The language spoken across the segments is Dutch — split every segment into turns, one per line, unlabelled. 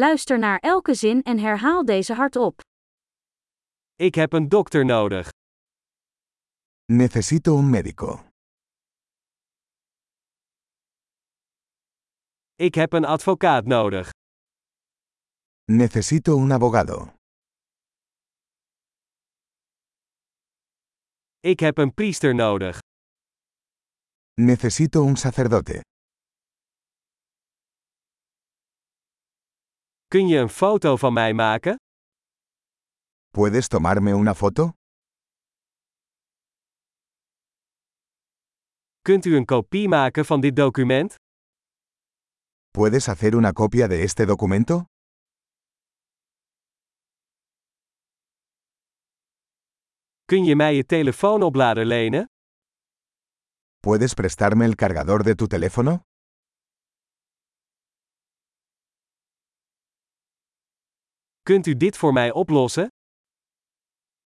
Luister naar elke zin en herhaal deze hardop.
Ik heb een dokter nodig.
Necesito un médico.
Ik heb een advocaat nodig.
Necesito un abogado.
Ik heb een priester nodig.
Necesito un sacerdote.
Kun je een foto van mij maken?
¿Puedes tomarme una foto?
Kunt u een kopie maken van dit document?
¿Puedes hacer una copia de este documento?
Kun je mij je telefoonoplader lenen?
¿Puedes prestarme el cargador de tu teléfono?
Kunt u dit voor mij oplossen?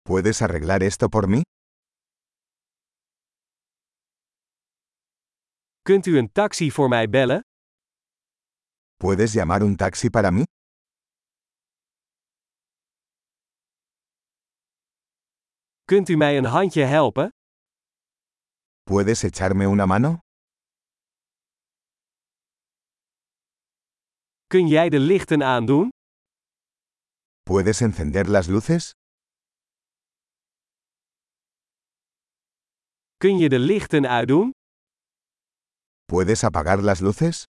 ¿Puedes arreglar esto por mí?
Kunt u een taxi voor mij bellen?
¿Puedes llamar un taxi para mí?
Kunt u mij een handje helpen?
¿Puedes echarme una mano?
Kun jij de lichten aandoen?
¿Puedes encender las luces?
Kun je de lichten uitdoen?
¿Puedes apagar las luces?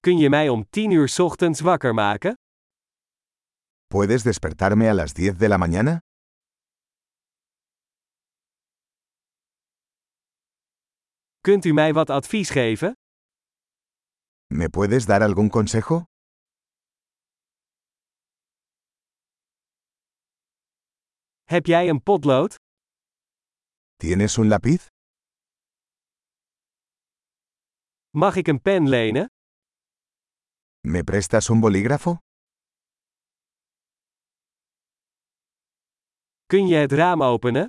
Kun je mij om 10 uur 's ochtends wakker maken?
¿Puedes despertarme a las 10 de la mañana?
Kunt u mij wat advies geven?
¿Me puedes dar algún consejo?
Heb jij een potlood?
¿Tienes un lápiz?
Mag ik een pen lenen?
¿Me prestas un bolígrafo?
Kun je het raam openen?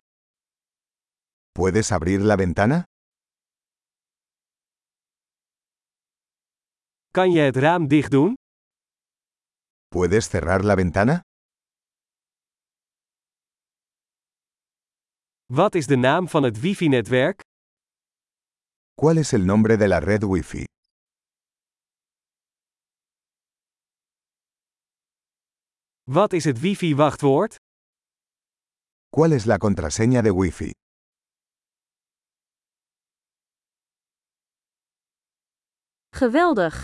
¿Puedes abrir la ventana?
Kan je het raam dicht doen?
¿Puedes cerrar la ventana?
Wat is de naam van het wifi-netwerk?
¿Cuál es el nombre de la red Wi-Fi?
Wat is het wifi-wachtwoord?
¿Cuál es la contraseña de Wi-Fi?
Geweldig!